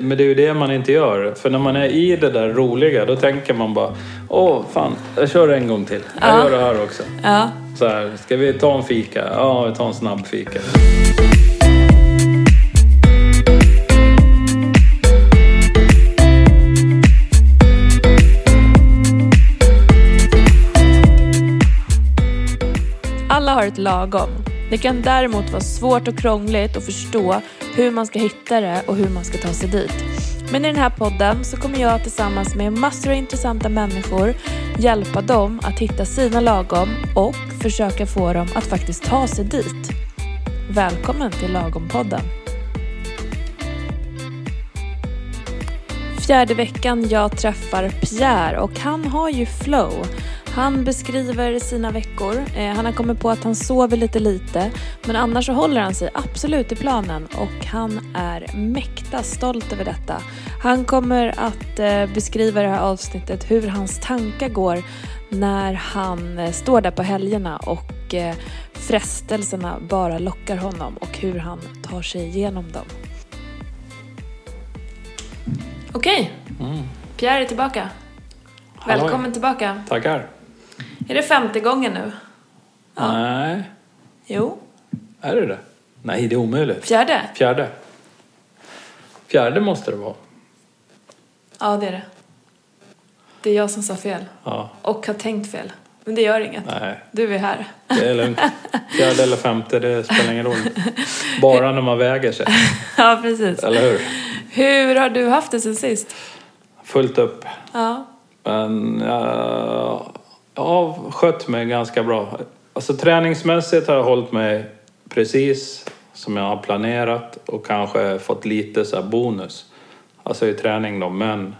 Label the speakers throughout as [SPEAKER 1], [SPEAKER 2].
[SPEAKER 1] Men det är ju det man inte gör. För när man är i det där roliga, då tänker man bara Åh, fan, jag kör en gång till. Jag
[SPEAKER 2] Ja.
[SPEAKER 1] gör det här också.
[SPEAKER 2] Ja.
[SPEAKER 1] Så här, ska vi ta en fika? Ja, vi tar en snabb fika.
[SPEAKER 2] Alla har ett lagom. Det kan däremot vara svårt och krångligt att förstå hur man ska hitta det och hur man ska ta sig dit. Men i den här podden så kommer jag tillsammans med massor av intressanta människor hjälpa dem att hitta sina lagom och försöka få dem att faktiskt ta sig dit. Välkommen till Lagompodden. Fjärde veckan jag träffar Pierre och han har ju flow. Han beskriver sina veckor. Eh, han har kommit på att han sover lite lite men annars så håller han sig absolut i planen och han är mäkta stolt över detta. Han kommer att eh, beskriva det här avsnittet hur hans tankar går när han eh, står där på helgerna och eh, frestelserna bara lockar honom och hur han tar sig igenom dem. Okej, Pierre är tillbaka.
[SPEAKER 1] Hallå.
[SPEAKER 2] Välkommen tillbaka.
[SPEAKER 1] Tackar.
[SPEAKER 2] Är det femte gången nu?
[SPEAKER 1] Nej,
[SPEAKER 2] Jo.
[SPEAKER 1] är det det? Nej, det är omöjligt.
[SPEAKER 2] Fjärde?
[SPEAKER 1] Fjärde. Fjärde måste det vara.
[SPEAKER 2] Ja, det är det. Det är jag som sa fel.
[SPEAKER 1] Ja,
[SPEAKER 2] Och har tänkt fel. Men det gör inget.
[SPEAKER 1] nej.
[SPEAKER 2] Du är här.
[SPEAKER 1] Det är lugnt. Fjärde eller femte, det spelar ingen roll. Bara när man väger sig,
[SPEAKER 2] Ja, precis.
[SPEAKER 1] eller hur?
[SPEAKER 2] Hur har du haft det sen sist?
[SPEAKER 1] Fullt upp.
[SPEAKER 2] Ja.
[SPEAKER 1] Men jag har skött mig ganska bra. Alltså träningsmässigt har jag hållit mig precis som jag har planerat och kanske fått lite så här bonus. Alltså i träning då, men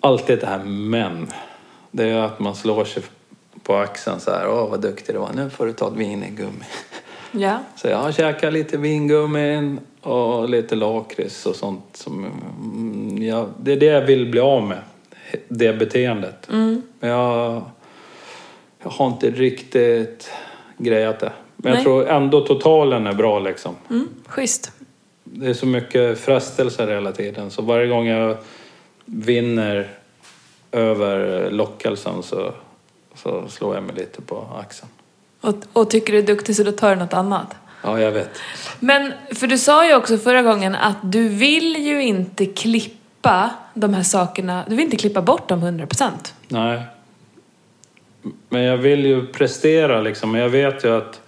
[SPEAKER 1] alltid det här men. Det är att man slår sig på axeln så här, åh vad duktig du var, nu får du ta ett vinegummi.
[SPEAKER 2] Ja.
[SPEAKER 1] Så jag har käkat lite vingummin och lite lakrits och sånt. Som, mm, jag, det är det jag vill bli av med, det beteendet. Men jag, jag har inte riktigt grejat det. Men
[SPEAKER 2] Nej.
[SPEAKER 1] jag tror ändå totalen är bra liksom.
[SPEAKER 2] Mm. Schysst.
[SPEAKER 1] Det är så mycket frestelser hela tiden. Så varje gång jag vinner över lockelsen så, så slår jag mig lite på axeln.
[SPEAKER 2] Och, och tycker du är duktig så då tar du något annat.
[SPEAKER 1] Ja, jag vet.
[SPEAKER 2] Men, för du sa ju också förra gången att du vill ju inte klippa de här sakerna. Du vill inte klippa bort dem 100%.
[SPEAKER 1] Nej. Men jag vill ju prestera liksom. Men Jag vet ju att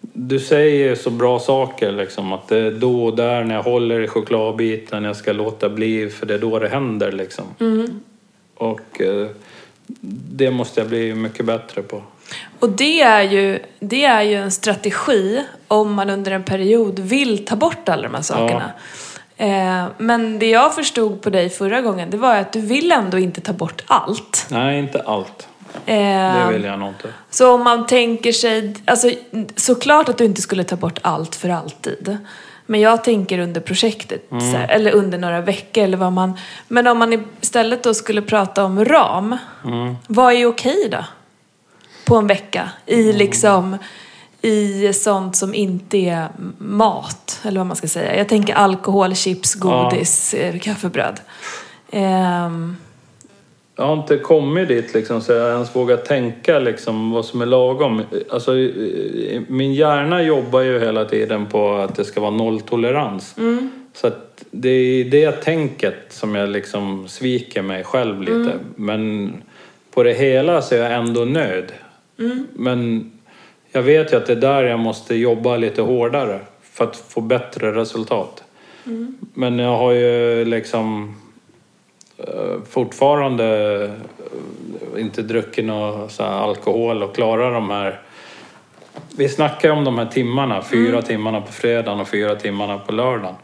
[SPEAKER 1] du säger så bra saker liksom. Att det är då och där när jag håller i chokladbiten jag ska låta bli för det är då det händer liksom. Och eh, det måste jag bli mycket bättre på.
[SPEAKER 2] Och det är, ju, det är ju en strategi om man under en period vill ta bort alla de här sakerna. Eh, men det jag förstod på dig förra gången, det var ju att du vill ändå inte ta bort allt.
[SPEAKER 1] Nej, inte allt.
[SPEAKER 2] Eh,
[SPEAKER 1] Det vill jag nog inte.
[SPEAKER 2] så om man tänker sig, alltså såklart att du inte skulle ta bort allt för alltid. Men jag tänker under projektet, så här, eller under några veckor eller vad man... Men om man istället då skulle prata om ram, vad är okej då? På en vecka, i liksom... I sånt som inte är mat, eller vad man ska säga. Jag tänker alkohol, chips, godis, eh, kaffebröd. Ehm,
[SPEAKER 1] Jag har inte kommit dit liksom, så jag ens vågar tänka liksom, vad som är lagom. Alltså, i- i- min hjärna jobbar ju hela tiden på att det ska vara nolltolerans. Så att det är det tänket som jag liksom sviker mig själv lite. Men på det hela så är jag ändå nöjd. Men jag vet ju att det är där jag måste jobba lite hårdare för att få bättre resultat. Men jag har ju liksom eh, fortfarande eh, inte druckit någon så här alkohol och klarar de här... Vi snackar ju om de här timmarna, fyra timmarna på fredagen och fyra timmarna på lördagen.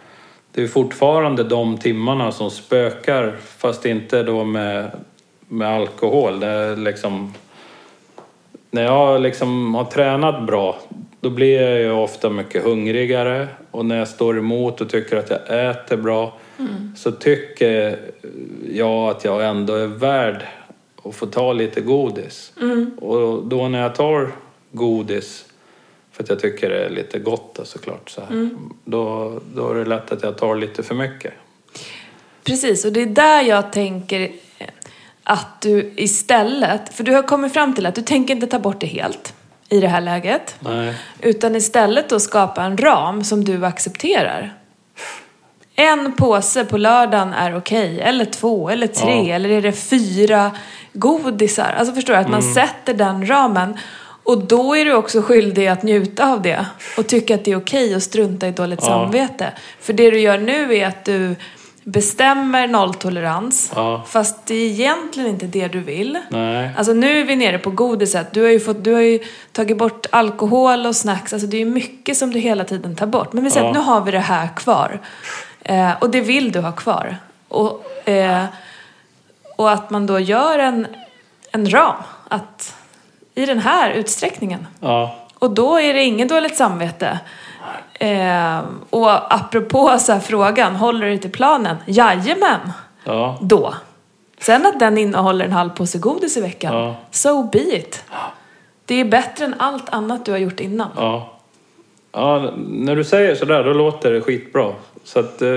[SPEAKER 1] Det är fortfarande de timmarna som spökar, fast inte då med, med alkohol. Det är liksom... När jag liksom har tränat bra, då blir jag ju ofta mycket hungrigare. Och när jag står emot och tycker att jag äter bra, så tycker jag att jag ändå är värd att få ta lite godis. Och då när jag tar godis, för att jag tycker det är lite gott då, såklart, så här, då, då är det lätt att jag tar lite för mycket.
[SPEAKER 2] Precis, och det är där jag tänker att du istället, för du har kommit fram till att du tänker inte ta bort det helt i det här läget.
[SPEAKER 1] Nej.
[SPEAKER 2] Utan istället då skapa en ram som du accepterar. En påse på lördagen är okej, eller två, eller tre,
[SPEAKER 1] Ja.
[SPEAKER 2] eller är det fyra godisar? Alltså förstår du? Att man
[SPEAKER 1] Mm.
[SPEAKER 2] sätter den ramen. Och då är du också skyldig att njuta av det. Och tycka att det är okej att strunta i dåligt
[SPEAKER 1] Ja.
[SPEAKER 2] samvete. För det du gör nu är att du bestämmer nolltolerans.
[SPEAKER 1] Ja.
[SPEAKER 2] Fast det är egentligen inte det du vill.
[SPEAKER 1] Nej.
[SPEAKER 2] Alltså nu är vi nere på godiset. Du har ju, fått, du har ju tagit bort alkohol och snacks. Alltså det är ju mycket som du hela tiden tar bort. Men vi säger
[SPEAKER 1] Ja.
[SPEAKER 2] att nu har vi det här kvar. Eh, och det vill du ha kvar. Och, eh, och att man då gör en, en ram. Att i den här utsträckningen.
[SPEAKER 1] Ja.
[SPEAKER 2] Och då är det inget dåligt samvete. Eh, och apropå så här frågan, håller du till planen? Jajamän!
[SPEAKER 1] Ja.
[SPEAKER 2] då. Sen att den innehåller en halv påse godis i veckan,
[SPEAKER 1] Ja.
[SPEAKER 2] so be it. Det är bättre än allt annat du har gjort innan.
[SPEAKER 1] Ja. ja. När du säger sådär, då låter det skitbra. Så att... Eh,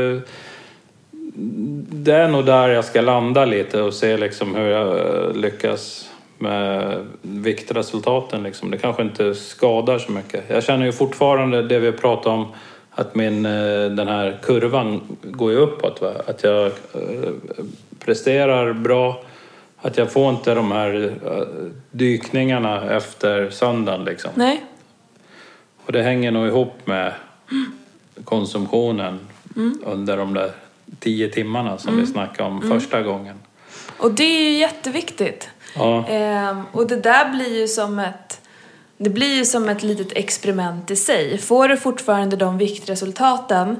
[SPEAKER 1] det är nog där jag ska landa lite och se liksom hur jag eh, lyckas med viktresultaten. Liksom. Det kanske inte skadar så mycket. Jag känner ju fortfarande det vi pratar om att min, eh, den här kurvan går ju uppåt. Va? Att jag eh, presterar bra, att jag får inte de här eh, dykningarna efter söndagen. Liksom.
[SPEAKER 2] Nej,
[SPEAKER 1] Och det hänger nog ihop med konsumtionen under de där tio timmarna som
[SPEAKER 2] Mm.
[SPEAKER 1] vi snackade om första gången.
[SPEAKER 2] och det är ju jätteviktigt.
[SPEAKER 1] Ja,
[SPEAKER 2] Ehm, och det där blir ju som ett det blir ju som ett litet experiment i sig. Får du fortfarande de viktresultaten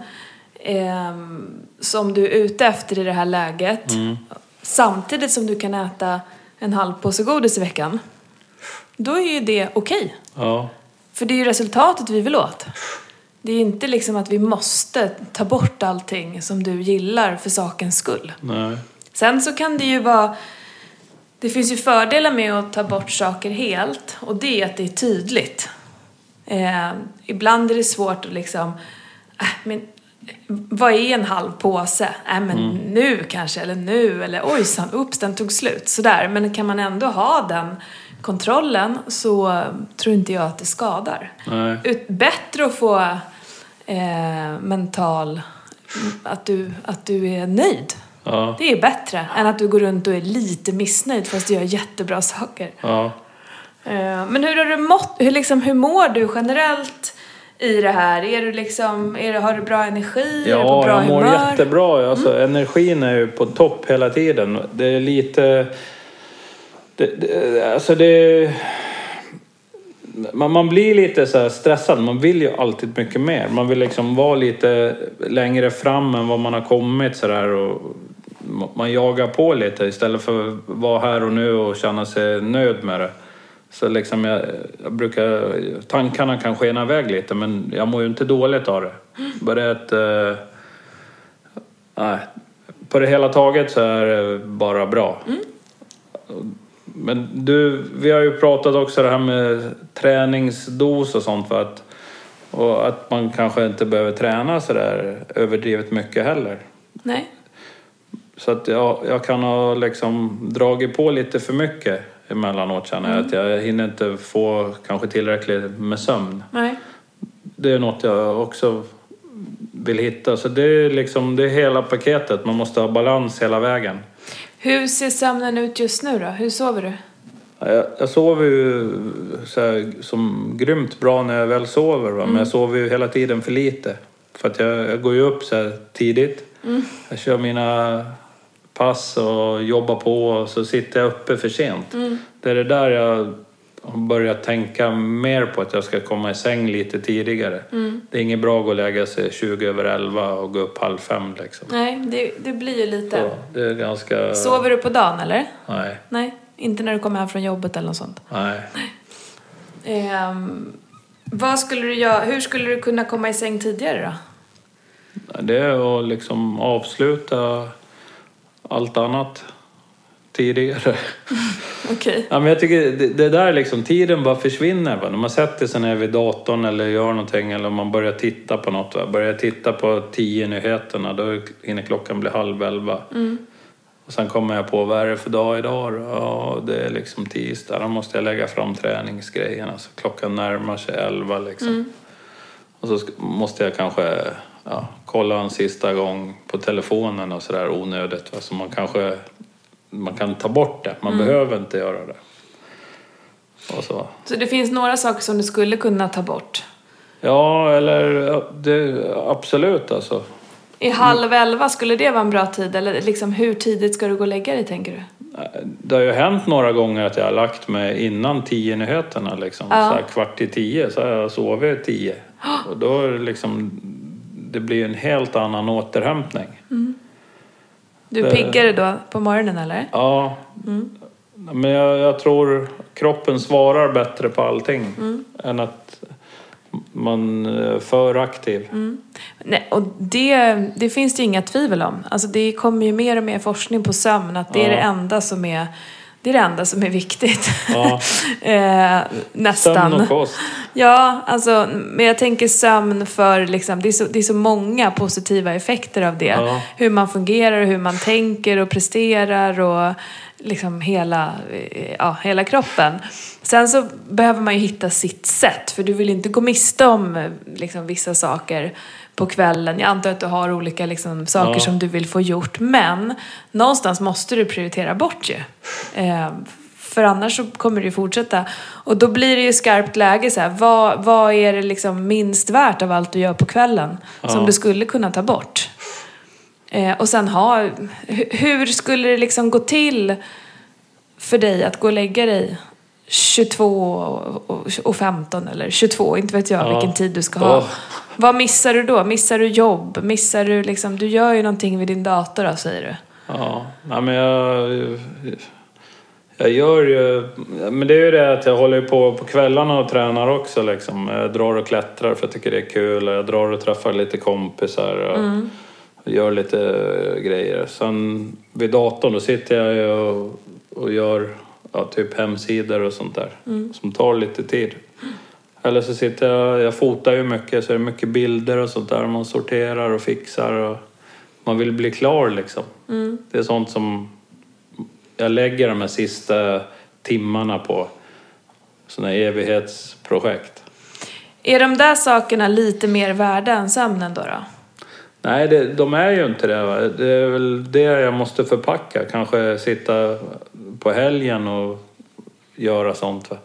[SPEAKER 2] ehm, som du är ute efter i det här läget samtidigt som du kan äta en halv påse godis i veckan då är ju det okej.
[SPEAKER 1] ja,
[SPEAKER 2] För det är ju resultatet vi vill åt. Det är inte liksom att vi måste ta bort allting som du gillar för sakens skull.
[SPEAKER 1] nej,
[SPEAKER 2] Sen så kan det ju vara... Det finns ju fördelar med att ta bort saker helt och det är att det är tydligt. Eh, ibland är det svårt att liksom... Äh, men, vad är en halv påse? Äh, men nu kanske, eller nu, eller ojsan, ups, den tog slut. Sådär. Men kan man ändå ha den kontrollen så eh, tror inte jag att det skadar.
[SPEAKER 1] nej.
[SPEAKER 2] Ut, bättre att få eh, mental... Att du, att du är nöjd.
[SPEAKER 1] Ja,
[SPEAKER 2] Det är bättre än att du går runt och är lite missnöjd fast du gör jättebra saker.
[SPEAKER 1] ja.
[SPEAKER 2] Eh, Men hur har du mått? Hur, liksom, hur mår du generellt i det här? Är du liksom, är du, har du bra energi? är du på
[SPEAKER 1] Ja,
[SPEAKER 2] bra
[SPEAKER 1] jag mår
[SPEAKER 2] humör? Mm.
[SPEAKER 1] jättebra. Alltså, Energin är ju på topp hela tiden. Det är lite... Det, det, alltså det... Man, man blir lite så här stressad. Man vill ju alltid mycket mer. Man vill liksom vara lite längre fram än vad man har kommit så där och man jagar på lite istället för att vara här och nu och känna sig nöjd med det. Så liksom jag, jag brukar, tankarna kan skena iväg lite men jag mår ju inte dåligt av det. Bara att eh, Nej, på det hela taget så är det bara bra. Men du, vi har ju pratat också det här med träningsdos och sånt för att, och att man kanske inte behöver träna så där överdrivet mycket heller.
[SPEAKER 2] Nej.
[SPEAKER 1] Så att jag, jag kan ha liksom dragit på lite för mycket emellanåt känner jag. Att jag hinner inte få kanske tillräckligt med sömn.
[SPEAKER 2] Nej.
[SPEAKER 1] Det är något jag också vill hitta. Så det är liksom, det är hela paketet. Man måste ha balans hela vägen.
[SPEAKER 2] Hur ser sömnen ut just nu då? Hur sover du?
[SPEAKER 1] Jag, jag sover ju så här, som grymt bra när jag väl sover. Va? Men jag sover ju hela tiden för lite. För att jag, jag går ju upp så här tidigt. Jag kör mina pass och jobbar på och så sitter jag uppe för sent. Det är det där jag har börjat tänka mer på att jag ska komma i säng lite tidigare. Det är inget bra att gå och lägga sig 20 över 11 och gå upp halv fem liksom.
[SPEAKER 2] Nej, det, det blir ju lite...
[SPEAKER 1] Så, det är ganska...
[SPEAKER 2] Sover du på dagen eller?
[SPEAKER 1] Nej,
[SPEAKER 2] Nej, inte när du kommer hem från jobbet eller något sånt.
[SPEAKER 1] nej.
[SPEAKER 2] Ehm, vad skulle du göra? Hur skulle du kunna komma i säng tidigare då?
[SPEAKER 1] Det är att liksom avsluta allt annat tidigare.
[SPEAKER 2] Okej.
[SPEAKER 1] Ja, men jag tycker det, det där liksom, tiden bara försvinner. Va? När man sätter sig ner vid datorn eller gör någonting eller om man börjar titta på något. Va? Börjar titta på tio nyheterna då hinner klockan bli halv elva. Och sen kommer jag på, vad är det för dag idag då? Ja, det är liksom tisdag, då måste jag lägga fram träningsgrejerna. Så klockan närmar sig elva liksom. Och så sk- måste jag kanske ja, kolla en sista gång på telefonen och sådär onödigt. Va? Så man kanske man kan ta bort det, man behöver inte göra det. Och så.
[SPEAKER 2] Så det finns några saker som du skulle kunna ta bort.
[SPEAKER 1] Ja, eller ja, det, absolut alltså.
[SPEAKER 2] I halv
[SPEAKER 1] Mm.
[SPEAKER 2] elva, skulle det vara en bra tid? Eller liksom hur tidigt ska du gå och lägga dig tänker du?
[SPEAKER 1] Det har ju hänt några gånger att jag har lagt mig innan tio nyheterna liksom. Så här kvart i tio, så har jag sovit tio. Och då är det liksom, det blir en helt annan återhämtning.
[SPEAKER 2] Du
[SPEAKER 1] Det-
[SPEAKER 2] är piggare då på morgonen eller?
[SPEAKER 1] Ja. Mm. Men jag, jag tror kroppen svarar bättre på allting än att man eh, är för aktiv.
[SPEAKER 2] Nej, och det, det finns det ju inga tvivel om. Alltså det kommer ju mer och mer forskning på sömn att det är
[SPEAKER 1] Ja.
[SPEAKER 2] det enda som är, det är det enda som är viktigt.
[SPEAKER 1] Ja.
[SPEAKER 2] eh, nästan.
[SPEAKER 1] Sömn och kost.
[SPEAKER 2] Ja, alltså, men jag tänker sömn för liksom, det, är så, det är så många positiva effekter av det.
[SPEAKER 1] Ja.
[SPEAKER 2] Hur man fungerar, och hur man tänker och presterar och liksom hela, eh, ja, hela kroppen. Sen så behöver man ju hitta sitt sätt för du vill inte gå miste om eh, liksom, vissa saker på kvällen. Jag antar att du har olika liksom, saker
[SPEAKER 1] Ja.
[SPEAKER 2] som du vill få gjort men någonstans måste du prioritera bort ju. Eh, för annars så kommer det ju fortsätta. Och då blir det ju skarpt läge så här, vad, vad är det liksom minst värt av allt du gör på kvällen? Som du skulle kunna ta bort. Eh, och sen ha, hu- hur skulle det liksom gå till för dig att gå och lägga dig 22 och, och, och 15 eller 22, inte vet jag
[SPEAKER 1] Ja.
[SPEAKER 2] vilken tid du ska ha.
[SPEAKER 1] Åh.
[SPEAKER 2] Vad missar du då? Missar du jobb? Missar du liksom, du gör ju någonting vid din dator då, säger du.
[SPEAKER 1] Ja, nej, men jag... Jag gör ju... Men det är ju det att jag håller ju på på kvällarna och tränar också liksom. Jag drar och klättrar för jag tycker det är kul och jag drar och träffar lite kompisar och gör lite eh, grejer. Sen vid datorn då sitter jag ju och, och gör ja, typ hemsidor och sånt där som tar lite tid. Eller så sitter jag, jag fotar ju mycket så det är mycket bilder och sånt där. Man sorterar och fixar och man vill bli klar liksom. Det är sånt som jag lägger de här sista timmarna på. Sådana evighetsprojekt.
[SPEAKER 2] Är de där sakerna lite mer värda än sömnen då? då?
[SPEAKER 1] Nej, det, de är ju inte det. Va? Det är väl det jag måste förpacka. Kanske sitta på helgen och göra sånt. Va?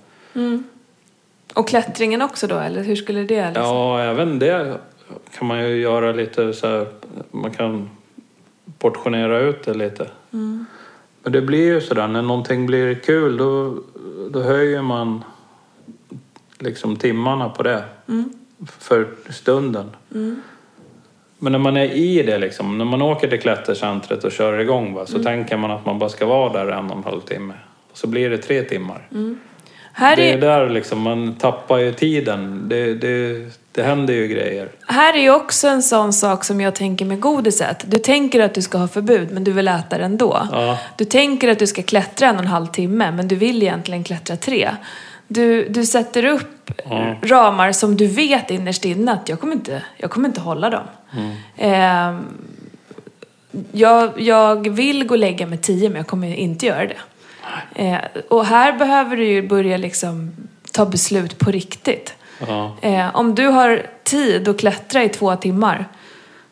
[SPEAKER 2] Och klättringen också då, eller hur skulle det liksom?
[SPEAKER 1] Ja, även det kan man ju göra lite så här, man kan portionera ut det lite.
[SPEAKER 2] Mm.
[SPEAKER 1] Men det blir ju sådär, när någonting blir kul då, då höjer man liksom timmarna på det.
[SPEAKER 2] Mm.
[SPEAKER 1] För stunden. Men när man är i det liksom, när man åker till klättercentret och kör igång va, så
[SPEAKER 2] Mm.
[SPEAKER 1] tänker man att man bara ska vara där en och en halv timme. Så blir det tre timmar.
[SPEAKER 2] Mm. Här
[SPEAKER 1] Det är
[SPEAKER 2] är,
[SPEAKER 1] ju där liksom, man tappar ju tiden. Det, det, det händer ju grejer.
[SPEAKER 2] här är ju också en sån sak som jag tänker med godiset. Du tänker att du ska ha förbud, men du vill äta det ändå.
[SPEAKER 1] Ja.
[SPEAKER 2] Du tänker att du ska klättra en och en halv timme, men du vill egentligen klättra tre. Du, du sätter upp
[SPEAKER 1] Ja.
[SPEAKER 2] ramar som du vet innerst inne att jag kommer inte, jag kommer inte hålla dem.
[SPEAKER 1] Mm.
[SPEAKER 2] Ehm, jag, jag vill gå och lägga mig tio, men jag kommer inte göra det. Eh, och här behöver du ju börja liksom ta beslut på riktigt.
[SPEAKER 1] Ja.
[SPEAKER 2] Eh, om du har tid att klättra i två timmar,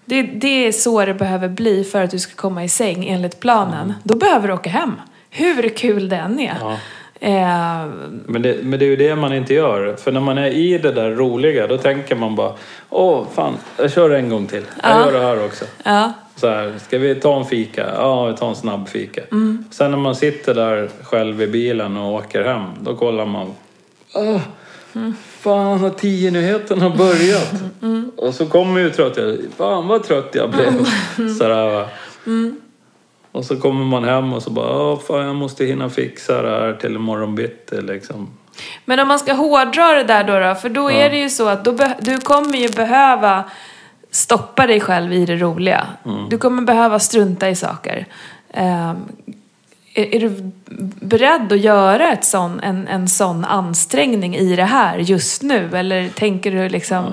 [SPEAKER 2] det, det är så det behöver bli för att du ska komma i säng enligt planen. Då behöver du åka hem, hur kul det än är.
[SPEAKER 1] Ja.
[SPEAKER 2] Eh,
[SPEAKER 1] Men, det, men det är ju det man inte gör. För när man är i det där roliga, då tänker man bara Åh, fan, jag kör en gång till. Jag gör det här också.
[SPEAKER 2] ja.
[SPEAKER 1] Så här, ska vi ta en fika? Ja, vi tar en snabb fika. Sen när man sitter där själv i bilen och åker hem, då kollar man. Åh, Fan, har tio nyheterna börjat? Och så kommer ju tröttheten. Fan vad trött jag blev. Så där, va. Och så kommer man hem och så bara, "Åh, fan jag måste hinna fixa det här till imorgon bitti liksom.
[SPEAKER 2] Men om man ska hårdra det där då, då för då är det ju så att då be- du kommer ju behöva stoppa
[SPEAKER 1] Mm.
[SPEAKER 2] dig själv i det roliga. Du kommer behöva strunta i saker. Ehm, Är, är du beredd att göra ett sån, en, en sån ansträngning i det här just nu? Eller tänker du liksom...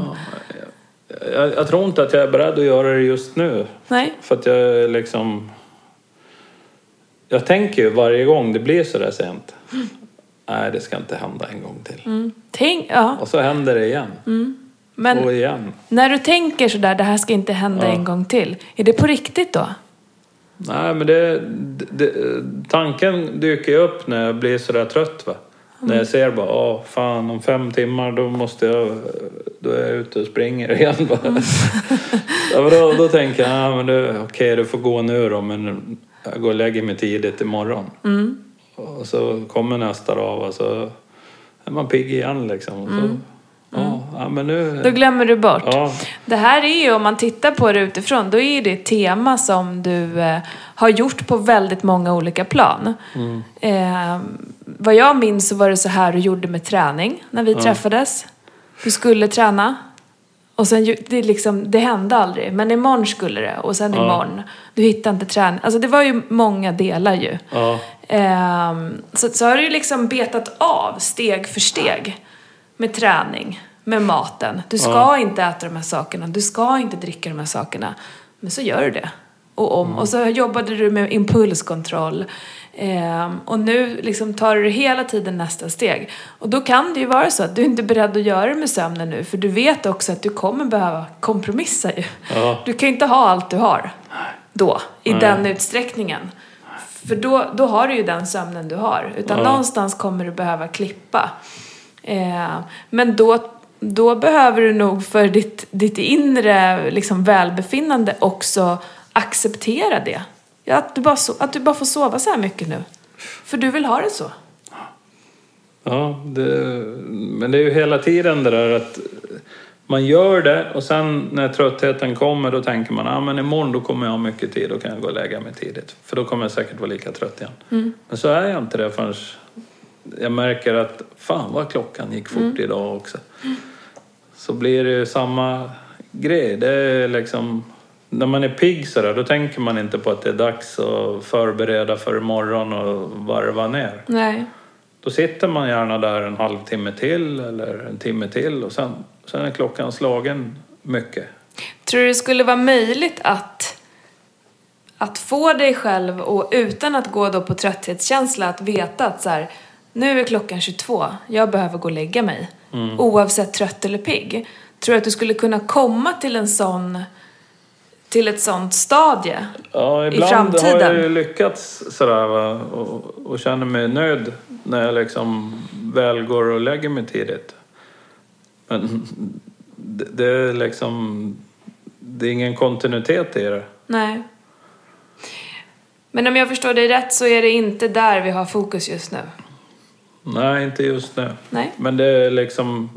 [SPEAKER 1] Jag, jag tror inte att jag är beredd att göra det just nu.
[SPEAKER 2] Nej?
[SPEAKER 1] För att jag är liksom... Jag tänker ju varje gång det blir sådär sent. Nej, det ska inte hända en gång till.
[SPEAKER 2] Mm. Tänk, ja.
[SPEAKER 1] Och så händer det igen.
[SPEAKER 2] Men
[SPEAKER 1] Och igen.
[SPEAKER 2] när du tänker sådär, det här ska inte hända
[SPEAKER 1] Ja.
[SPEAKER 2] en gång till. Är det på riktigt då?
[SPEAKER 1] Nej, men det, det, tanken dyker ju upp när jag blir sådär trött. Va? När jag ser bara, åh fan om fem timmar då måste jag, då är jag ute och springer igen. Va? ja, men då, då tänker jag, "Nej, men du, okej du får gå nu då men jag går och lägger mig tidigt imorgon. Och så kommer nästa dag och så är man pigg igen liksom. Och så, Ja, ja, men nu...
[SPEAKER 2] Då glömmer du bort.
[SPEAKER 1] ja,
[SPEAKER 2] Det här är ju, om man tittar på det utifrån, då är det ett tema som du eh, har gjort på väldigt många olika plan. Eh, vad jag minns så var det så här du gjorde med träning när vi träffades. Du skulle träna. Och sen, ju- det, är liksom, det hände aldrig, men imorgon skulle det. Och sen imorgon. Du hittade inte träning. Alltså det var ju många delar ju.
[SPEAKER 1] ja.
[SPEAKER 2] Ehm, så, så har du ju liksom betat av steg för steg med träning, med maten. Du ska inte äta de här sakerna, du ska inte dricka de här sakerna. Men så gör du det. Och, om. och så jobbade du med impulskontroll. Ehm, och nu liksom tar du hela tiden nästa steg. Och då kan det ju vara så att du inte är beredd att göra det med sömnen nu. För du vet också att du kommer behöva kompromissa ju.
[SPEAKER 1] Ja.
[SPEAKER 2] Du kan ju inte ha allt du har då, i den utsträckningen. För då, då har du ju den sömnen du har. Utan någonstans kommer du behöva klippa. Eh, men då, då behöver du nog för ditt, ditt inre liksom, välbefinnande också acceptera det. Ja, att, du bara so- att du bara får sova så här mycket nu. För du vill ha det så.
[SPEAKER 1] Ja, det, men det är ju hela tiden det där att man gör det och sen när tröttheten kommer då tänker man ah, men imorgon då kommer jag ha mycket tid, då kan jag gå och lägga mig tidigt. För då kommer jag säkert vara lika trött igen. Men så är jag inte det förrän jag märker att fan vad klockan gick fort idag också. Så blir det ju samma grej. Det är liksom, när man är pigg sådär då tänker man inte på att det är dags att förbereda för imorgon och varva ner.
[SPEAKER 2] Nej.
[SPEAKER 1] Då sitter man gärna där en halvtimme till eller en timme till och sen, sen är klockan slagen mycket.
[SPEAKER 2] Tror du det skulle vara möjligt att, att få dig själv och utan att gå då på trötthetskänsla att veta att så här, nu är klockan 22, jag behöver gå och lägga mig. Oavsett trött eller pigg. Tror du att du skulle kunna komma till en sån till ett sånt stadie?
[SPEAKER 1] Ja, ibland har
[SPEAKER 2] framtiden.
[SPEAKER 1] jag ju lyckats sådär va? Och, och känner mig nöjd när jag liksom väl går och lägger mig tidigt. Men det, det är liksom... Det är ingen kontinuitet i det.
[SPEAKER 2] Nej. Men om jag förstår dig rätt så är det inte där vi har fokus just nu.
[SPEAKER 1] Nej, inte just nu.
[SPEAKER 2] Nej.
[SPEAKER 1] Men det är liksom...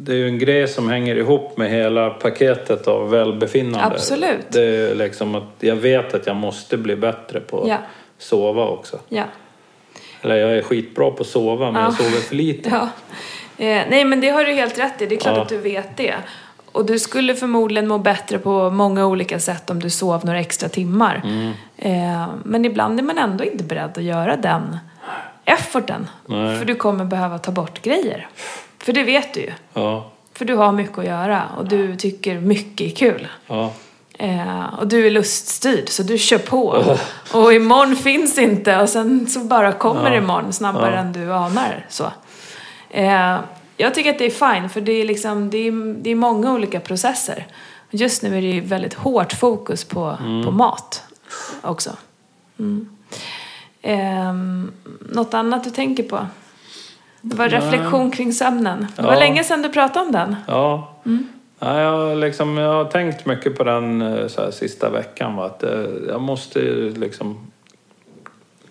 [SPEAKER 1] Det är ju en grej som hänger ihop med hela paketet av välbefinnande.
[SPEAKER 2] Absolut.
[SPEAKER 1] Det är liksom att jag vet att jag måste bli bättre på att
[SPEAKER 2] Ja.
[SPEAKER 1] sova också.
[SPEAKER 2] Ja.
[SPEAKER 1] Eller jag är skitbra på att sova men jag sover för lite.
[SPEAKER 2] Ja. Eh, nej, men det har du helt rätt i. Det är klart
[SPEAKER 1] Ja.
[SPEAKER 2] att du vet det. Och du skulle förmodligen må bättre på många olika sätt om du sov några extra timmar.
[SPEAKER 1] Mm.
[SPEAKER 2] Eh, men ibland är man ändå inte beredd att göra den efforten.
[SPEAKER 1] Nej.
[SPEAKER 2] För du kommer behöva ta bort grejer. För det vet du ju.
[SPEAKER 1] Ja,
[SPEAKER 2] För du har mycket att göra och du tycker mycket är kul.
[SPEAKER 1] ja,
[SPEAKER 2] Eh, och du är luststyrd så du kör på.
[SPEAKER 1] Oh.
[SPEAKER 2] Och imorgon finns inte och sen så bara kommer imorgon snabbare än du anar. Så. Eh, jag tycker att det är fine för det är, liksom, det, är, det är många olika processer. Just nu är det ju väldigt hårt fokus på,
[SPEAKER 1] Mm.
[SPEAKER 2] på mat också. Mm. Ehm, något annat du tänker på? Det var reflektion kring sömnen. Det var
[SPEAKER 1] Ja.
[SPEAKER 2] länge sedan du pratade om den.
[SPEAKER 1] ja. Nej, jag, har liksom, jag har tänkt mycket på den eh, så här, sista veckan. Va? Att eh, jag måste ju liksom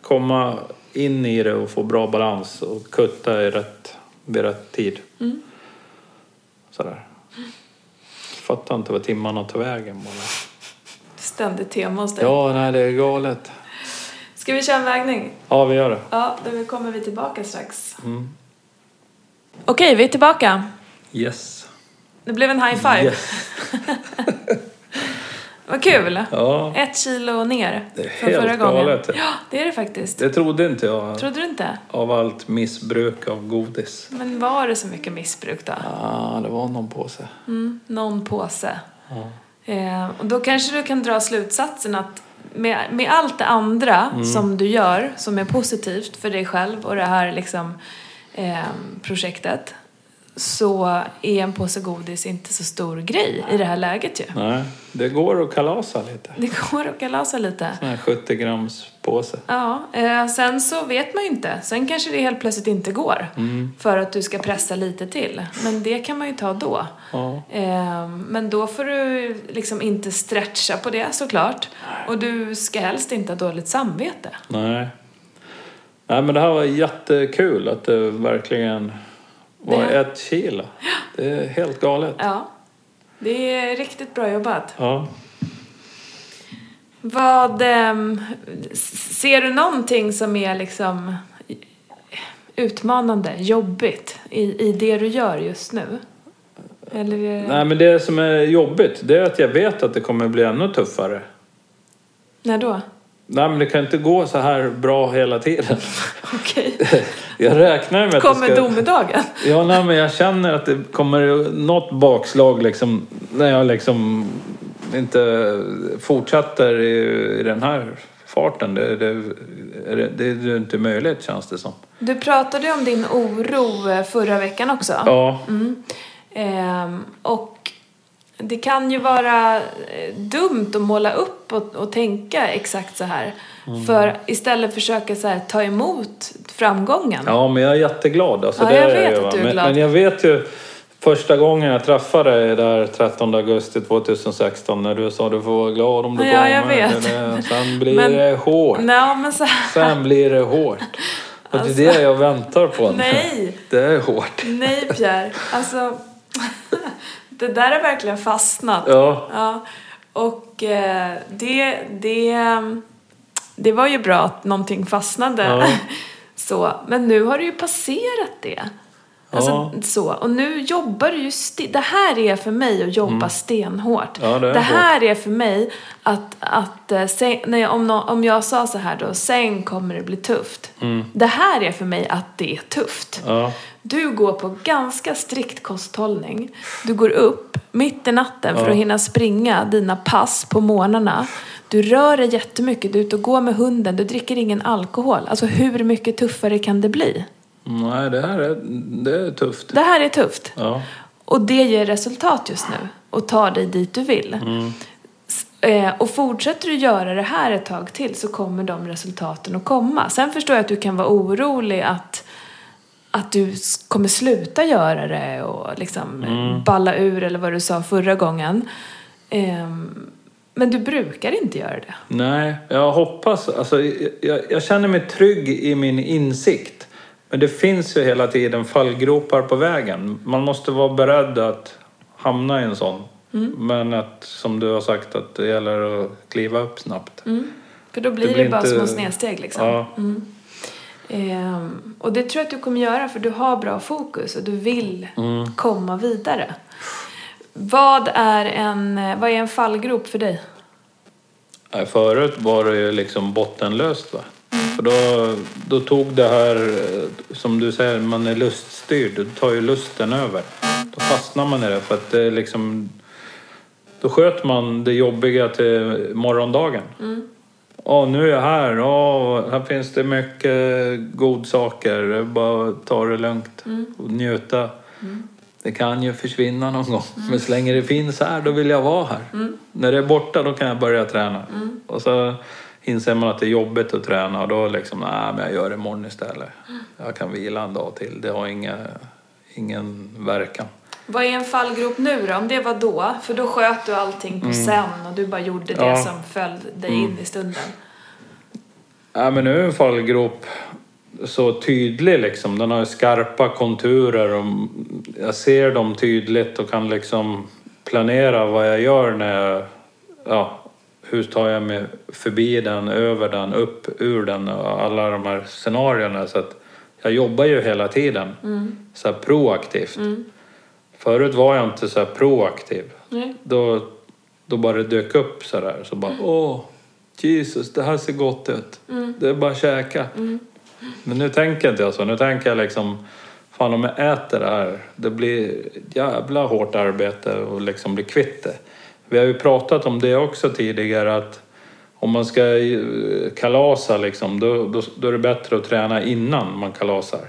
[SPEAKER 1] komma in i det och få bra balans och kutta i rätt, vid rätt tid. Sådär. Fattar inte vad timmarna tar vägen bara.
[SPEAKER 2] Ständigt tema hos dig.
[SPEAKER 1] Ja, nej, det är galet.
[SPEAKER 2] Ska vi köra en vägning?
[SPEAKER 1] Ja, vi gör det. Mm.
[SPEAKER 2] Ja, då kommer vi tillbaka strax. Okej, vi är tillbaka.
[SPEAKER 1] Yes.
[SPEAKER 2] Det blev en high five.
[SPEAKER 1] Yes.
[SPEAKER 2] Vad kul!
[SPEAKER 1] Ja,
[SPEAKER 2] Ett kilo ner
[SPEAKER 1] Det är
[SPEAKER 2] från
[SPEAKER 1] helt
[SPEAKER 2] förra gången.
[SPEAKER 1] galet.
[SPEAKER 2] Ja, det är det faktiskt.
[SPEAKER 1] det trodde inte jag.
[SPEAKER 2] Trodde du inte?
[SPEAKER 1] Av allt missbruk av godis.
[SPEAKER 2] Men var det så mycket missbruk då?
[SPEAKER 1] Ja, det var någon påse.
[SPEAKER 2] Mm, någon påse. Eh, och då kanske du kan dra slutsatsen att med, med allt det andra
[SPEAKER 1] Mm.
[SPEAKER 2] som du gör som är positivt för dig själv och det här liksom, eh, projektet så är en påse godis inte så stor grej i det här läget ju.
[SPEAKER 1] Nej, det går att kalasa lite.
[SPEAKER 2] Det går att kalasa lite.
[SPEAKER 1] Sån här 70 grams påse.
[SPEAKER 2] Ja, eh, sen så vet man ju inte. Sen kanske det helt plötsligt inte går för att du ska pressa lite till. Men det kan man ju ta då.
[SPEAKER 1] Ja.
[SPEAKER 2] Eh, Men då får du liksom inte stretcha på det såklart. Och du ska helst inte ha dåligt samvete.
[SPEAKER 1] Nej. Nej, men det här var jättekul att det verkligen var
[SPEAKER 2] Det-
[SPEAKER 1] ett kilo. Det är helt galet.
[SPEAKER 2] Ja, det är riktigt bra jobbat.
[SPEAKER 1] Ja.
[SPEAKER 2] Vad, ehm, s- ser du någonting som är liksom utmanande, jobbigt i, i det du gör just nu? Eller? eh,
[SPEAKER 1] Nej, men det som är jobbigt det är att jag vet att det kommer bli ännu tuffare.
[SPEAKER 2] När då?
[SPEAKER 1] Nej, men det kan inte gå så här bra hela tiden.
[SPEAKER 2] Okej.
[SPEAKER 1] Jag räknar med att
[SPEAKER 2] Kommer
[SPEAKER 1] det ska...
[SPEAKER 2] domedagen?
[SPEAKER 1] Ja, nej, men jag känner att det kommer något bakslag liksom, när jag liksom inte fortsätter i, i den här farten. Det, det, det, det är ju inte möjligt känns det som.
[SPEAKER 2] Du pratade ju om din oro eh, förra veckan också.
[SPEAKER 1] Ja,
[SPEAKER 2] Mm. Ehm, och det kan ju vara eh, dumt att måla upp och, och tänka exakt så här.
[SPEAKER 1] Mm.
[SPEAKER 2] För istället försöka så här, ta emot framgången.
[SPEAKER 1] ja men jag är jätteglad. Alltså,
[SPEAKER 2] Ja,
[SPEAKER 1] det
[SPEAKER 2] jag
[SPEAKER 1] är
[SPEAKER 2] vet
[SPEAKER 1] ju,
[SPEAKER 2] att
[SPEAKER 1] va.
[SPEAKER 2] du är
[SPEAKER 1] men,
[SPEAKER 2] glad.
[SPEAKER 1] men jag vet ju första gången jag träffade dig där 13 augusti 2016 när du sa du får vara glad om du
[SPEAKER 2] Ja,
[SPEAKER 1] kommer.
[SPEAKER 2] jag vet.
[SPEAKER 1] Det- Sen blir
[SPEAKER 2] Men-
[SPEAKER 1] det hårt.
[SPEAKER 2] Nej, men så här,
[SPEAKER 1] Sen blir det hårt. Och det är det jag väntar på nu.
[SPEAKER 2] Alltså- nej,
[SPEAKER 1] Det är hårt.
[SPEAKER 2] nej Pierre. Alltså, det där är verkligen fastnat.
[SPEAKER 1] Ja,
[SPEAKER 2] Ja, och eh, det, det, eh, det var ju bra att någonting fastnade.
[SPEAKER 1] Ja.
[SPEAKER 2] Så, men nu har du ju passerat det. Alltså,
[SPEAKER 1] Ja.
[SPEAKER 2] så. Och nu jobbar du ju... Sti- det här är för mig att jobba stenhårt.
[SPEAKER 1] Mm. Ja, det är
[SPEAKER 2] här är för mig att... att eh, sen, när jag, om, nå- om jag sa så här då, sen kommer det bli tufft.
[SPEAKER 1] Mm.
[SPEAKER 2] Det här är för mig att det är tufft.
[SPEAKER 1] ja,
[SPEAKER 2] Du går på ganska strikt kosthållning. Du går upp mitt i natten för
[SPEAKER 1] Ja.
[SPEAKER 2] att hinna springa dina pass på morgnarna. Du rör dig jättemycket, du är ute och går med hunden, du dricker ingen alkohol. Alltså hur mycket tuffare kan det bli?
[SPEAKER 1] nej det här är, det är tufft.
[SPEAKER 2] Det här är tufft.
[SPEAKER 1] Ja,
[SPEAKER 2] Och det ger resultat just nu och tar dig dit du vill.
[SPEAKER 1] Mm.
[SPEAKER 2] S- eh, Och fortsätter du göra det här ett tag till så kommer de resultaten att komma. Sen förstår jag att du kan vara orolig att, att du s- kommer sluta göra det och liksom
[SPEAKER 1] Mm.
[SPEAKER 2] eh, balla ur eller vad du sa förra gången. Ehm, Men du brukar inte göra det.
[SPEAKER 1] nej, jag hoppas, alltså jag- jag, jag känner mig trygg i min insikt. Men det finns ju hela tiden fallgropar på vägen. Man måste vara beredd att hamna i en sån. Men att, som du har sagt, att det gäller att kliva upp snabbt.
[SPEAKER 2] För då blir det,
[SPEAKER 1] blir
[SPEAKER 2] bara
[SPEAKER 1] inte-
[SPEAKER 2] små snedsteg liksom.
[SPEAKER 1] Ja,
[SPEAKER 2] Ehm, och det tror jag att du kommer göra för du har bra fokus och du vill
[SPEAKER 1] Mm.
[SPEAKER 2] komma vidare. Vad är, en, vad är en fallgrop för dig?
[SPEAKER 1] Nej, Förut var det ju liksom bottenlöst. Va? För då, då tog det här, eh, som du säger, man är luststyrd. Då tar ju lusten över. Då fastnar man i det. För att det är liksom, då sköt man det jobbiga till morgondagen. Ja, nu är jag här. Ja, här finns det mycket godsaker. Bara ta det lugnt och njuta. Det kan ju försvinna någon gång. Men så länge det finns här, då vill jag vara här. När det är borta, då kan jag börja träna. Och så inser man att det är jobbigt att träna och då liksom, nej men jag gör det imorgon istället. Jag kan vila en dag till. Det har inga, ingen verkan.
[SPEAKER 2] Vad är en fallgrop nu då? Om det var då? För då sköt du allting på sen och du bara gjorde det
[SPEAKER 1] Mm. Ja. Mm.
[SPEAKER 2] som föll dig in i stunden.
[SPEAKER 1] Nej, men nu är en fallgrop så tydlig liksom. Den har ju skarpa konturer och jag ser dem tydligt och kan liksom planera vad jag gör när jag... Ja, hur tar jag mig förbi den, över den, upp ur den och alla de här scenarierna. Så att jag jobbar ju hela tiden så här proaktivt. Förut var jag inte så här proaktiv.
[SPEAKER 2] Nej.
[SPEAKER 1] Då då bara det dök upp sådär. Så bara, åh, Jesus, det här ser gott ut. Det är bara att käka. Men nu tänker inte jag så. Nu tänker jag liksom, fan om jag äter det här, det blir ett jävla hårt arbete och liksom bli kvitt det. Vi har ju pratat om det också tidigare att om man ska eh, kalasa liksom, då, då, då är det bättre att träna innan man kalasar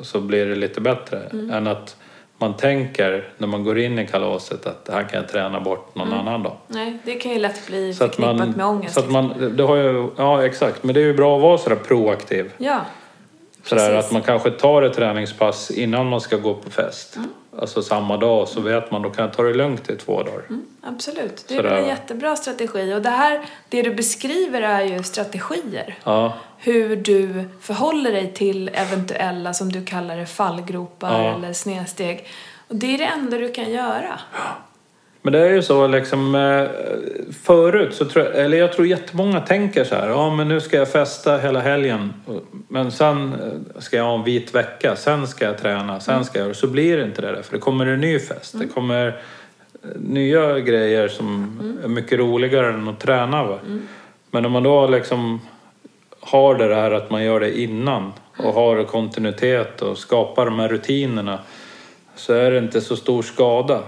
[SPEAKER 1] så blir det lite bättre.
[SPEAKER 2] Mm.
[SPEAKER 1] Än att man tänker när man går in i kalaset att det här kan jag träna bort någon annan dag.
[SPEAKER 2] Nej, Mm. det kan ju lätt bli
[SPEAKER 1] Så att
[SPEAKER 2] förknippat
[SPEAKER 1] man,
[SPEAKER 2] med ångest.
[SPEAKER 1] så att man, det har ju, ja exakt, men det är ju bra att vara sådär proaktiv.
[SPEAKER 2] liksom. Ja,
[SPEAKER 1] Sådär
[SPEAKER 2] Precis.
[SPEAKER 1] att man kanske tar ett träningspass innan man ska gå på fest.
[SPEAKER 2] Mm.
[SPEAKER 1] Alltså samma dag så vet man, då kan jag ta det lugnt i två dagar.
[SPEAKER 2] Mm. absolut. Det är
[SPEAKER 1] Sådär,
[SPEAKER 2] väl en
[SPEAKER 1] va?
[SPEAKER 2] jättebra strategi. Och det här, det du beskriver är ju strategier.
[SPEAKER 1] Ja,
[SPEAKER 2] Hur du förhåller dig till eventuella, som du kallar det, fallgropar
[SPEAKER 1] Ja.
[SPEAKER 2] eller snedsteg. Och det är det enda du kan göra.
[SPEAKER 1] Men det är ju så liksom eh, förut så tror jag, eller jag tror jättemånga tänker så här, ja men nu ska jag festa hela helgen men sen eh, ska jag ha en vit vecka, sen ska jag träna, sen ska jag, så blir det inte det där för det kommer en ny fest, det kommer eh, nya grejer som är mycket roligare än att träna va. Men om man då liksom har det här att man gör det innan och har kontinuitet och skapar de här rutinerna så är det inte så stor skada.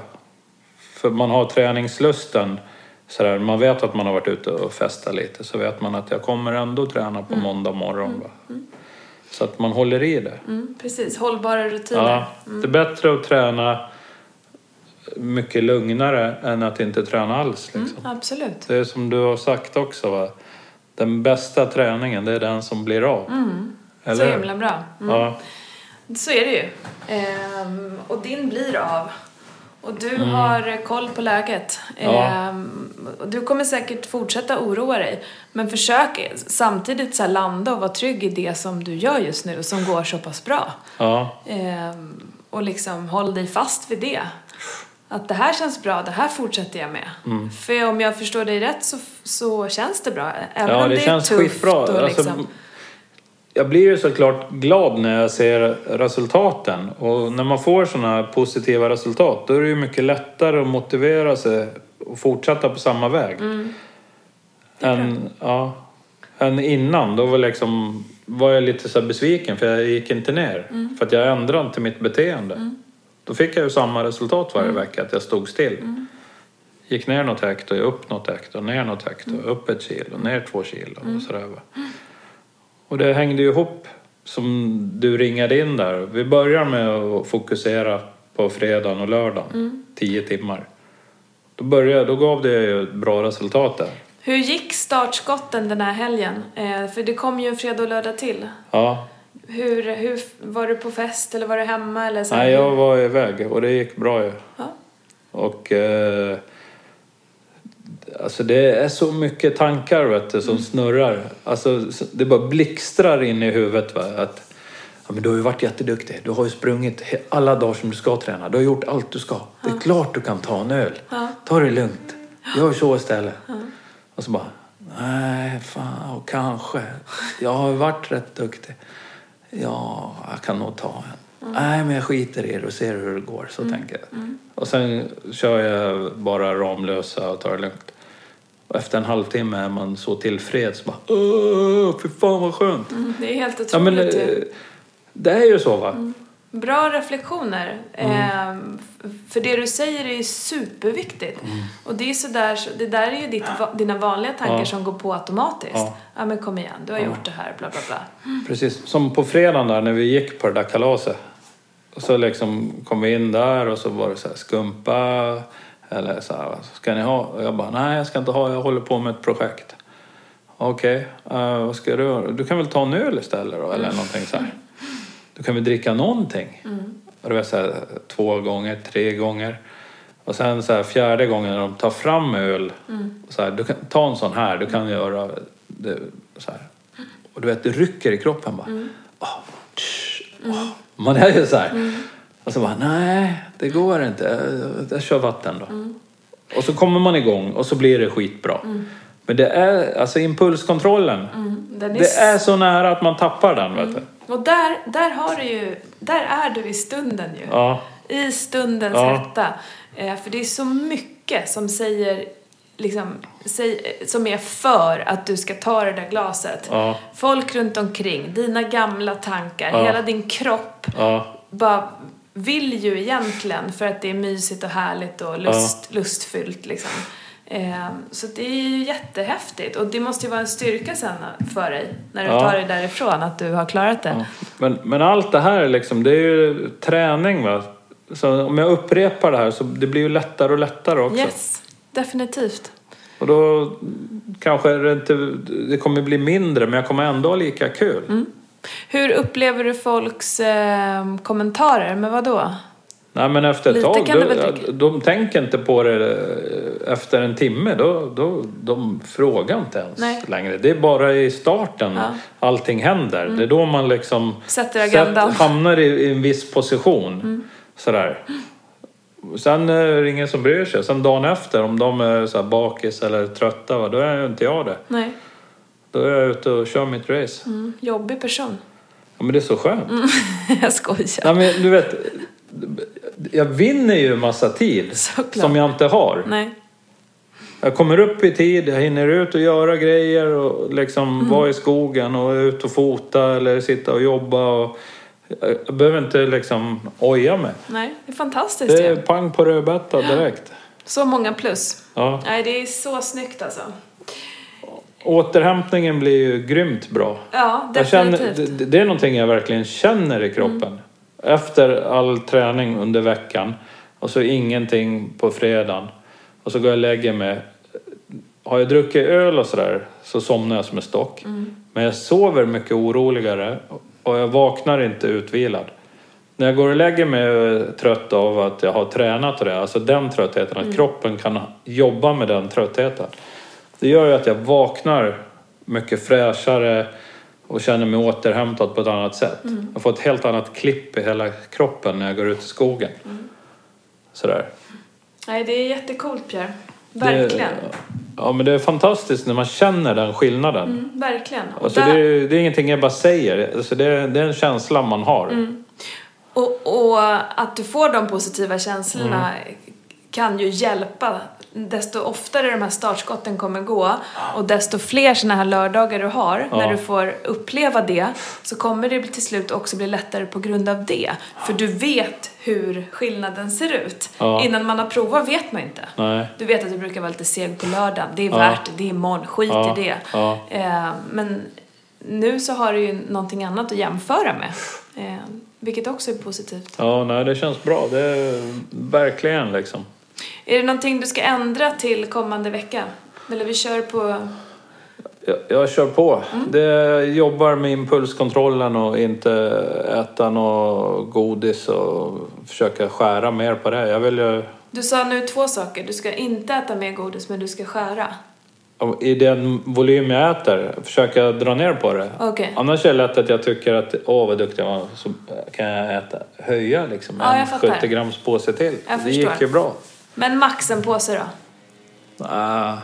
[SPEAKER 1] För man har träningslusten. Sådär, man vet att man har varit ute och festat lite så vet man att jag kommer ändå träna
[SPEAKER 2] Mm.
[SPEAKER 1] på måndag morgon. Va? Så att man håller i det.
[SPEAKER 2] Mm, precis, hållbara rutiner.
[SPEAKER 1] Ja, det är bättre att träna mycket lugnare än att inte träna alls. Liksom.
[SPEAKER 2] Mm, absolut.
[SPEAKER 1] Det är som du har sagt också. Va? Den bästa träningen det är den som blir av.
[SPEAKER 2] Mm. Så
[SPEAKER 1] hur?
[SPEAKER 2] himla bra. Mm.
[SPEAKER 1] Ja,
[SPEAKER 2] Så är det ju. Ehm, och din blir av. Och du har koll på läget.
[SPEAKER 1] Mm. Ja.
[SPEAKER 2] Ehm, och du kommer säkert fortsätta oroa dig. Men försök samtidigt så här landa och vara trygg i det som du gör just nu som går så pass bra.
[SPEAKER 1] ja.
[SPEAKER 2] Ehm, och liksom håll dig fast vid det. Att det här känns bra, det här fortsätter jag med.
[SPEAKER 1] Mm.
[SPEAKER 2] För om jag förstår dig rätt så, så känns det bra. Även
[SPEAKER 1] Ja,
[SPEAKER 2] om
[SPEAKER 1] det,
[SPEAKER 2] det,
[SPEAKER 1] känns
[SPEAKER 2] är tufft
[SPEAKER 1] skitbra.
[SPEAKER 2] och
[SPEAKER 1] Alltså,
[SPEAKER 2] liksom...
[SPEAKER 1] jag blir ju såklart glad när jag ser resultaten. Och när man får sådana här positiva resultat då är det ju mycket lättare att motivera sig och fortsätta på samma väg.
[SPEAKER 2] Mm.
[SPEAKER 1] Än, ja, än innan, då var, liksom, var jag lite så här besviken för jag gick inte ner.
[SPEAKER 2] Mm.
[SPEAKER 1] För att jag ändrade inte mitt beteende. Då fick jag ju samma resultat varje
[SPEAKER 2] Mm.
[SPEAKER 1] vecka, att jag stod still. Gick ner något hekt och upp något hekt och ner något hekt och upp ett kilo, ner två kilo och sådär. Va? Och det hängde ju ihop som du ringade in där. Vi börjar med att fokusera på fredagen och lördagen, tio timmar. Då, började, då gav det ju ett bra resultat där.
[SPEAKER 2] Hur gick startskotten den här helgen? Eh, för det kom ju en fredag och lördag till.
[SPEAKER 1] Ja.
[SPEAKER 2] Hur, hur, var du på fest eller var du hemma eller så? här?
[SPEAKER 1] Nej, jag var iväg och det gick bra ju.
[SPEAKER 2] Ja.
[SPEAKER 1] Och... Eh, alltså det är så mycket tankar vet du, som snurrar. Alltså, s- det bara blixtrar in i huvudet. Va? Att, ja, men du har ju varit jätteduktig. Du har ju sprungit he- alla dagar som du ska träna. Du har gjort allt du ska. Det är klart du kan ta en öl. Ta det lugnt. Gör så istället. Och så bara... Nej, fan, och kanske. Jag har ju varit rätt duktig. Ja, jag kan nog ta en. Nej, men jag skiter i det och ser hur det går. Så tänker jag. Och sen kör jag bara Ramlösa och tar det lugnt. Och efter en halvtimme är man så tillfreds. Bara, Åh, fy fan vad skönt!
[SPEAKER 2] Mm, Det är helt otroligt
[SPEAKER 1] ja, men, eh,
[SPEAKER 2] ju.
[SPEAKER 1] det är ju så va?
[SPEAKER 2] Bra reflektioner.
[SPEAKER 1] Mm.
[SPEAKER 2] Eh, f- för det du säger är ju superviktigt.
[SPEAKER 1] Mm.
[SPEAKER 2] Och det är sådär, så- det där är ju ditt, va- dina vanliga tankar
[SPEAKER 1] Ja.
[SPEAKER 2] som går på automatiskt. Ja.
[SPEAKER 1] Ja.
[SPEAKER 2] men kom igen, du har gjort det här, bla bla bla.
[SPEAKER 1] Precis, som på fredagen där när vi gick på det där kalaset. Och så liksom kom vi in där och så var det så här skumpa eller så här, ska ni ha? Och jag bara, nej jag ska inte ha, jag håller på med ett projekt. Okej, eh, vad ska du göra? Du kan väl ta en öl istället då, eller någonting så här. Du kan väl dricka någonting? Och det var så här, två gånger, tre gånger. Och sen så här, fjärde gången när de tar fram öl. Så här, du kan ta en sån här, du kan göra det, så här. Och du vet, det rycker i kroppen bara. Åh, tsch, åh. Man är ju så här. Och så bara, nej, det går inte. Jag, jag kör vatten då. Och så kommer man igång och så blir det skitbra. Men det är, alltså impulskontrollen.
[SPEAKER 2] Mm, den är
[SPEAKER 1] Det är så nära att man tappar den, vet du.
[SPEAKER 2] Och där, där har du ju, där är du i stunden ju.
[SPEAKER 1] Ja,
[SPEAKER 2] I stundens
[SPEAKER 1] Ja.
[SPEAKER 2] hetta. Eh, för det är så mycket mycket som säger liksom, säg- som är för att du ska ta det där glaset.
[SPEAKER 1] Ja,
[SPEAKER 2] Folk runt omkring, dina gamla tankar,
[SPEAKER 1] Ja.
[SPEAKER 2] hela din kropp
[SPEAKER 1] ja,
[SPEAKER 2] bara vill ju egentligen för att det är mysigt och härligt och lust, lustfyllt liksom. Eh, Så det är ju jättehäftigt och det måste ju vara en styrka sen för dig när du
[SPEAKER 1] Ja.
[SPEAKER 2] tar dig därifrån att du har klarat det.
[SPEAKER 1] ja. Men, men allt det här liksom, det är ju träning va. Så om jag upprepar det här så det blir ju lättare och lättare också.
[SPEAKER 2] yes, definitivt.
[SPEAKER 1] Och då kanske det inte, det kommer bli mindre men jag kommer ändå ha lika kul.
[SPEAKER 2] Mm. Hur upplever du folks eh, kommentarer? Men vad då?
[SPEAKER 1] Nej men efter ett
[SPEAKER 2] Lite
[SPEAKER 1] tag,
[SPEAKER 2] kan
[SPEAKER 1] då,
[SPEAKER 2] det väl tycka.
[SPEAKER 1] de tänker inte på det eh, efter en timme. Då, då, de frågar inte ens
[SPEAKER 2] Nej.
[SPEAKER 1] längre. Det är bara i starten
[SPEAKER 2] Ja. Mm.
[SPEAKER 1] allting händer. Det är då man liksom
[SPEAKER 2] Sätter agendan. Mm.
[SPEAKER 1] hamnar i, i en viss position. Sådär. Sen eh, är det ingen som bryr sig. Sen dagen efter, om de är så här bakis eller trötta, va, då är ju inte jag det.
[SPEAKER 2] Nej,
[SPEAKER 1] Då är jag ute och kör mitt race.
[SPEAKER 2] mm. jobbig person.
[SPEAKER 1] Ja, men det är så skönt.
[SPEAKER 2] Jag skojar.
[SPEAKER 1] Nej, men du vet, jag vinner ju massa tid
[SPEAKER 2] Såklart.
[SPEAKER 1] som jag inte har.
[SPEAKER 2] Nej.
[SPEAKER 1] Jag kommer upp i tid, jag hinner ut och göra grejer och liksom
[SPEAKER 2] Mm.
[SPEAKER 1] vara i skogen och ut och fota eller sitta och jobba. Och eh, jag behöver inte liksom oja mig.
[SPEAKER 2] Nej, det är fantastiskt
[SPEAKER 1] Det är
[SPEAKER 2] ju.
[SPEAKER 1] pang på rödbeta direkt.
[SPEAKER 2] Så många plus.
[SPEAKER 1] Ja.
[SPEAKER 2] Nej, det är så snyggt alltså.
[SPEAKER 1] Återhämtningen blir ju grymt bra.
[SPEAKER 2] Ja,
[SPEAKER 1] Jag
[SPEAKER 2] definitivt. Mm.
[SPEAKER 1] känner, det, det är någonting jag verkligen känner i kroppen. Efter all träning under veckan och så ingenting på fredagen och så går jag och lägger mig. Har jag druckit öl och sådär så somnar jag som en stock. Men jag sover mycket oroligare och jag vaknar inte utvilad. När jag går och lägger mig är jag trött av att jag har tränat och det, alltså den tröttheten, att kroppen kan jobba med den tröttheten. Det gör ju att jag vaknar mycket fräschare och känner mig återhämtad på ett annat sätt. Jag får ett helt annat klipp i hela kroppen när jag går ut i skogen. Sådär.
[SPEAKER 2] Nej, det är jättecoolt Pierre. Verkligen.
[SPEAKER 1] Det, ja, men det är fantastiskt när man känner den skillnaden.
[SPEAKER 2] Mm, verkligen. Och,
[SPEAKER 1] Alltså,
[SPEAKER 2] där,
[SPEAKER 1] det, är, det är ingenting jag bara säger, alltså, det, är, det är en känsla man har.
[SPEAKER 2] Mm. och, och att du får de positiva känslorna
[SPEAKER 1] Mm.
[SPEAKER 2] kan ju hjälpa. Desto oftare de här startskotten kommer gå och desto fler såna här lördagar du har,
[SPEAKER 1] Ah. Ja.
[SPEAKER 2] när du får uppleva det, så kommer det till slut också bli lättare på grund av det. För du vet hur skillnaden ser ut.
[SPEAKER 1] Ja.
[SPEAKER 2] Innan man har provat vet man inte.
[SPEAKER 1] Nej.
[SPEAKER 2] Du vet att du brukar vara lite seg på lördagen. Det är värt det, det är imorgon, skit
[SPEAKER 1] Ja,
[SPEAKER 2] i det.
[SPEAKER 1] ja.
[SPEAKER 2] Eh, men nu så har du ju någonting annat att jämföra med. Eh, vilket också är positivt.
[SPEAKER 1] Ja, nej, det känns bra. Det är verkligen liksom.
[SPEAKER 2] Är det någonting du ska ändra till kommande vecka? Eller vi kör på...
[SPEAKER 1] Jag, jag kör på.
[SPEAKER 2] Mm.
[SPEAKER 1] Det jag jobbar med impulskontrollen och inte äta något godis och försöka skära mer på det. Jag vill ju,
[SPEAKER 2] Du sa nu två saker. Du ska inte äta mer godis men du ska skära.
[SPEAKER 1] i den volym jag äter, försöka dra ner på det.
[SPEAKER 2] Okej.
[SPEAKER 1] Annars är det lätt att jag tycker att åh vad duktig jag var, så kan jag äta, höja liksom
[SPEAKER 2] Ja, jag
[SPEAKER 1] en
[SPEAKER 2] fattar.
[SPEAKER 1] 70 grams påse till.
[SPEAKER 2] Jag
[SPEAKER 1] det
[SPEAKER 2] förstår.
[SPEAKER 1] gick ju bra.
[SPEAKER 2] Men max en påse då?
[SPEAKER 1] Ah,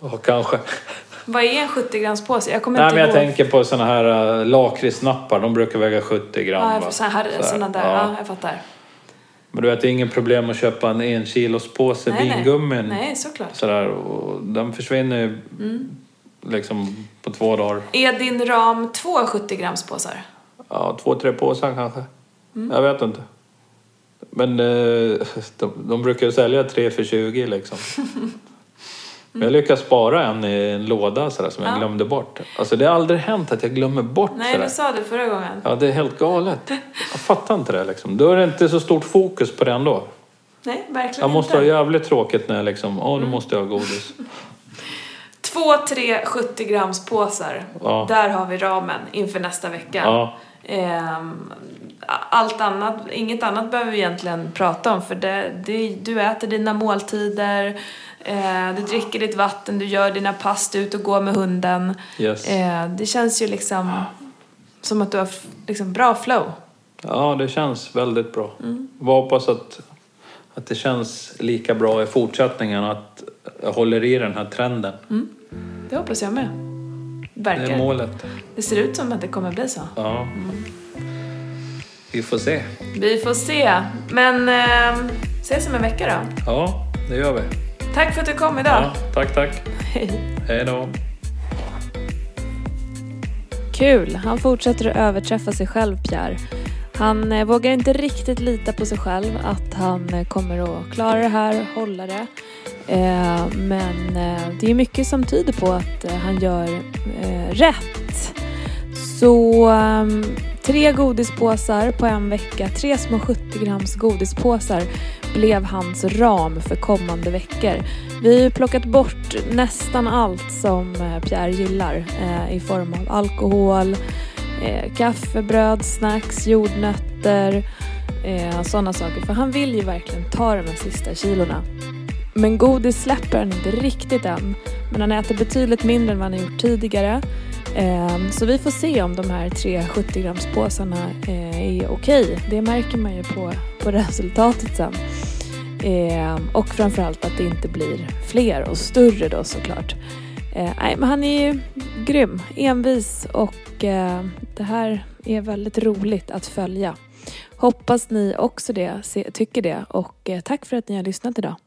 [SPEAKER 1] ja, kanske.
[SPEAKER 2] Vad är en 70 grams påse? Jag kommer
[SPEAKER 1] Nej,
[SPEAKER 2] inte
[SPEAKER 1] men jag
[SPEAKER 2] ihåg.
[SPEAKER 1] tänker på såna här äh, lakritsnappar. De brukar väga 70 gram.
[SPEAKER 2] Ja,
[SPEAKER 1] va?
[SPEAKER 2] jag, så här,
[SPEAKER 1] Så här,
[SPEAKER 2] såna där. Ja. jag fattar.
[SPEAKER 1] Men du vet, det är ingen problem att köpa en enkilospåse vingummin.
[SPEAKER 2] Nej, Mm. nej, såklart.
[SPEAKER 1] Sådär, och den försvinner ju liksom på två dagar.
[SPEAKER 2] Är din ram två 70 grams påsar?
[SPEAKER 1] Ja, två, tre påsar kanske.
[SPEAKER 2] Mm.
[SPEAKER 1] Jag vet inte. Men eh, de, de brukar ju sälja tre för 20 liksom. Men jag lyckas spara en i en låda sådär, som jag
[SPEAKER 2] Ja.
[SPEAKER 1] glömde bort. Alltså det har aldrig hänt att jag glömmer bort
[SPEAKER 2] Nej,
[SPEAKER 1] sådär.
[SPEAKER 2] det sa du förra gången.
[SPEAKER 1] Ja, det är helt galet. Jag fattar inte det liksom. Då är det inte så stort fokus på det ändå.
[SPEAKER 2] Nej, verkligen
[SPEAKER 1] Jag måste
[SPEAKER 2] inte.
[SPEAKER 1] ha jävligt tråkigt när jag liksom, åh
[SPEAKER 2] Mm.
[SPEAKER 1] nu måste jag ha godis.
[SPEAKER 2] Två, tre 70 grams påsar.
[SPEAKER 1] Ja.
[SPEAKER 2] Där har vi ramen inför nästa vecka.
[SPEAKER 1] Ja.
[SPEAKER 2] Ehm, allt annat, inget annat behöver vi egentligen prata om för det, det, du äter dina måltider, eh, du dricker ditt vatten, du gör dina pass, du är ute och går med hunden.
[SPEAKER 1] Yes.
[SPEAKER 2] Eh, det känns ju liksom som att du har f- liksom bra flow.
[SPEAKER 1] Ja, det känns väldigt bra. Jag hoppas att, att det känns lika bra i fortsättningen, att jag håller i den här trenden.
[SPEAKER 2] Det hoppas jag med.
[SPEAKER 1] Det
[SPEAKER 2] Verkar.
[SPEAKER 1] är målet.
[SPEAKER 2] det ser ut som att det kommer bli så.
[SPEAKER 1] Ja. Vi får se.
[SPEAKER 2] Vi får se. Men eh, ehm, ses om en vecka då.
[SPEAKER 1] Ja, det gör vi.
[SPEAKER 2] Tack för att du kom idag.
[SPEAKER 1] Ja, tack, tack.
[SPEAKER 2] Hej.
[SPEAKER 1] Hej då.
[SPEAKER 2] Kul, han fortsätter att överträffa sig själv Pierre. Han eh, vågar inte riktigt lita på sig själv att han eh, kommer att klara det här, hålla det. Eh, men eh, det är mycket som tyder på att eh, han gör eh, rätt. Så ehm, tre godispåsar på en vecka, tre små 70 grams godispåsar blev hans ram för kommande veckor. Vi har ju plockat bort nästan allt som eh, Pierre gillar eh, i form av alkohol, eh, kaffe, bröd, snacks, jordnötter, eh, sådana saker. För han vill ju verkligen ta de här sista kilorna. Men godis släpper han inte riktigt än. Men han äter betydligt mindre än vad han har gjort tidigare. Eh, Så vi får se om de här tre 70-gramspåsarna eh, är okej. Det märker man ju på, på resultatet sen. Eh, Och framförallt att det inte blir fler och större då såklart. Eh, Nej, men han är ju grym, envis och eh, det här är väldigt roligt att följa. Hoppas ni också det, se- tycker det och eh, tack för att ni har lyssnat idag.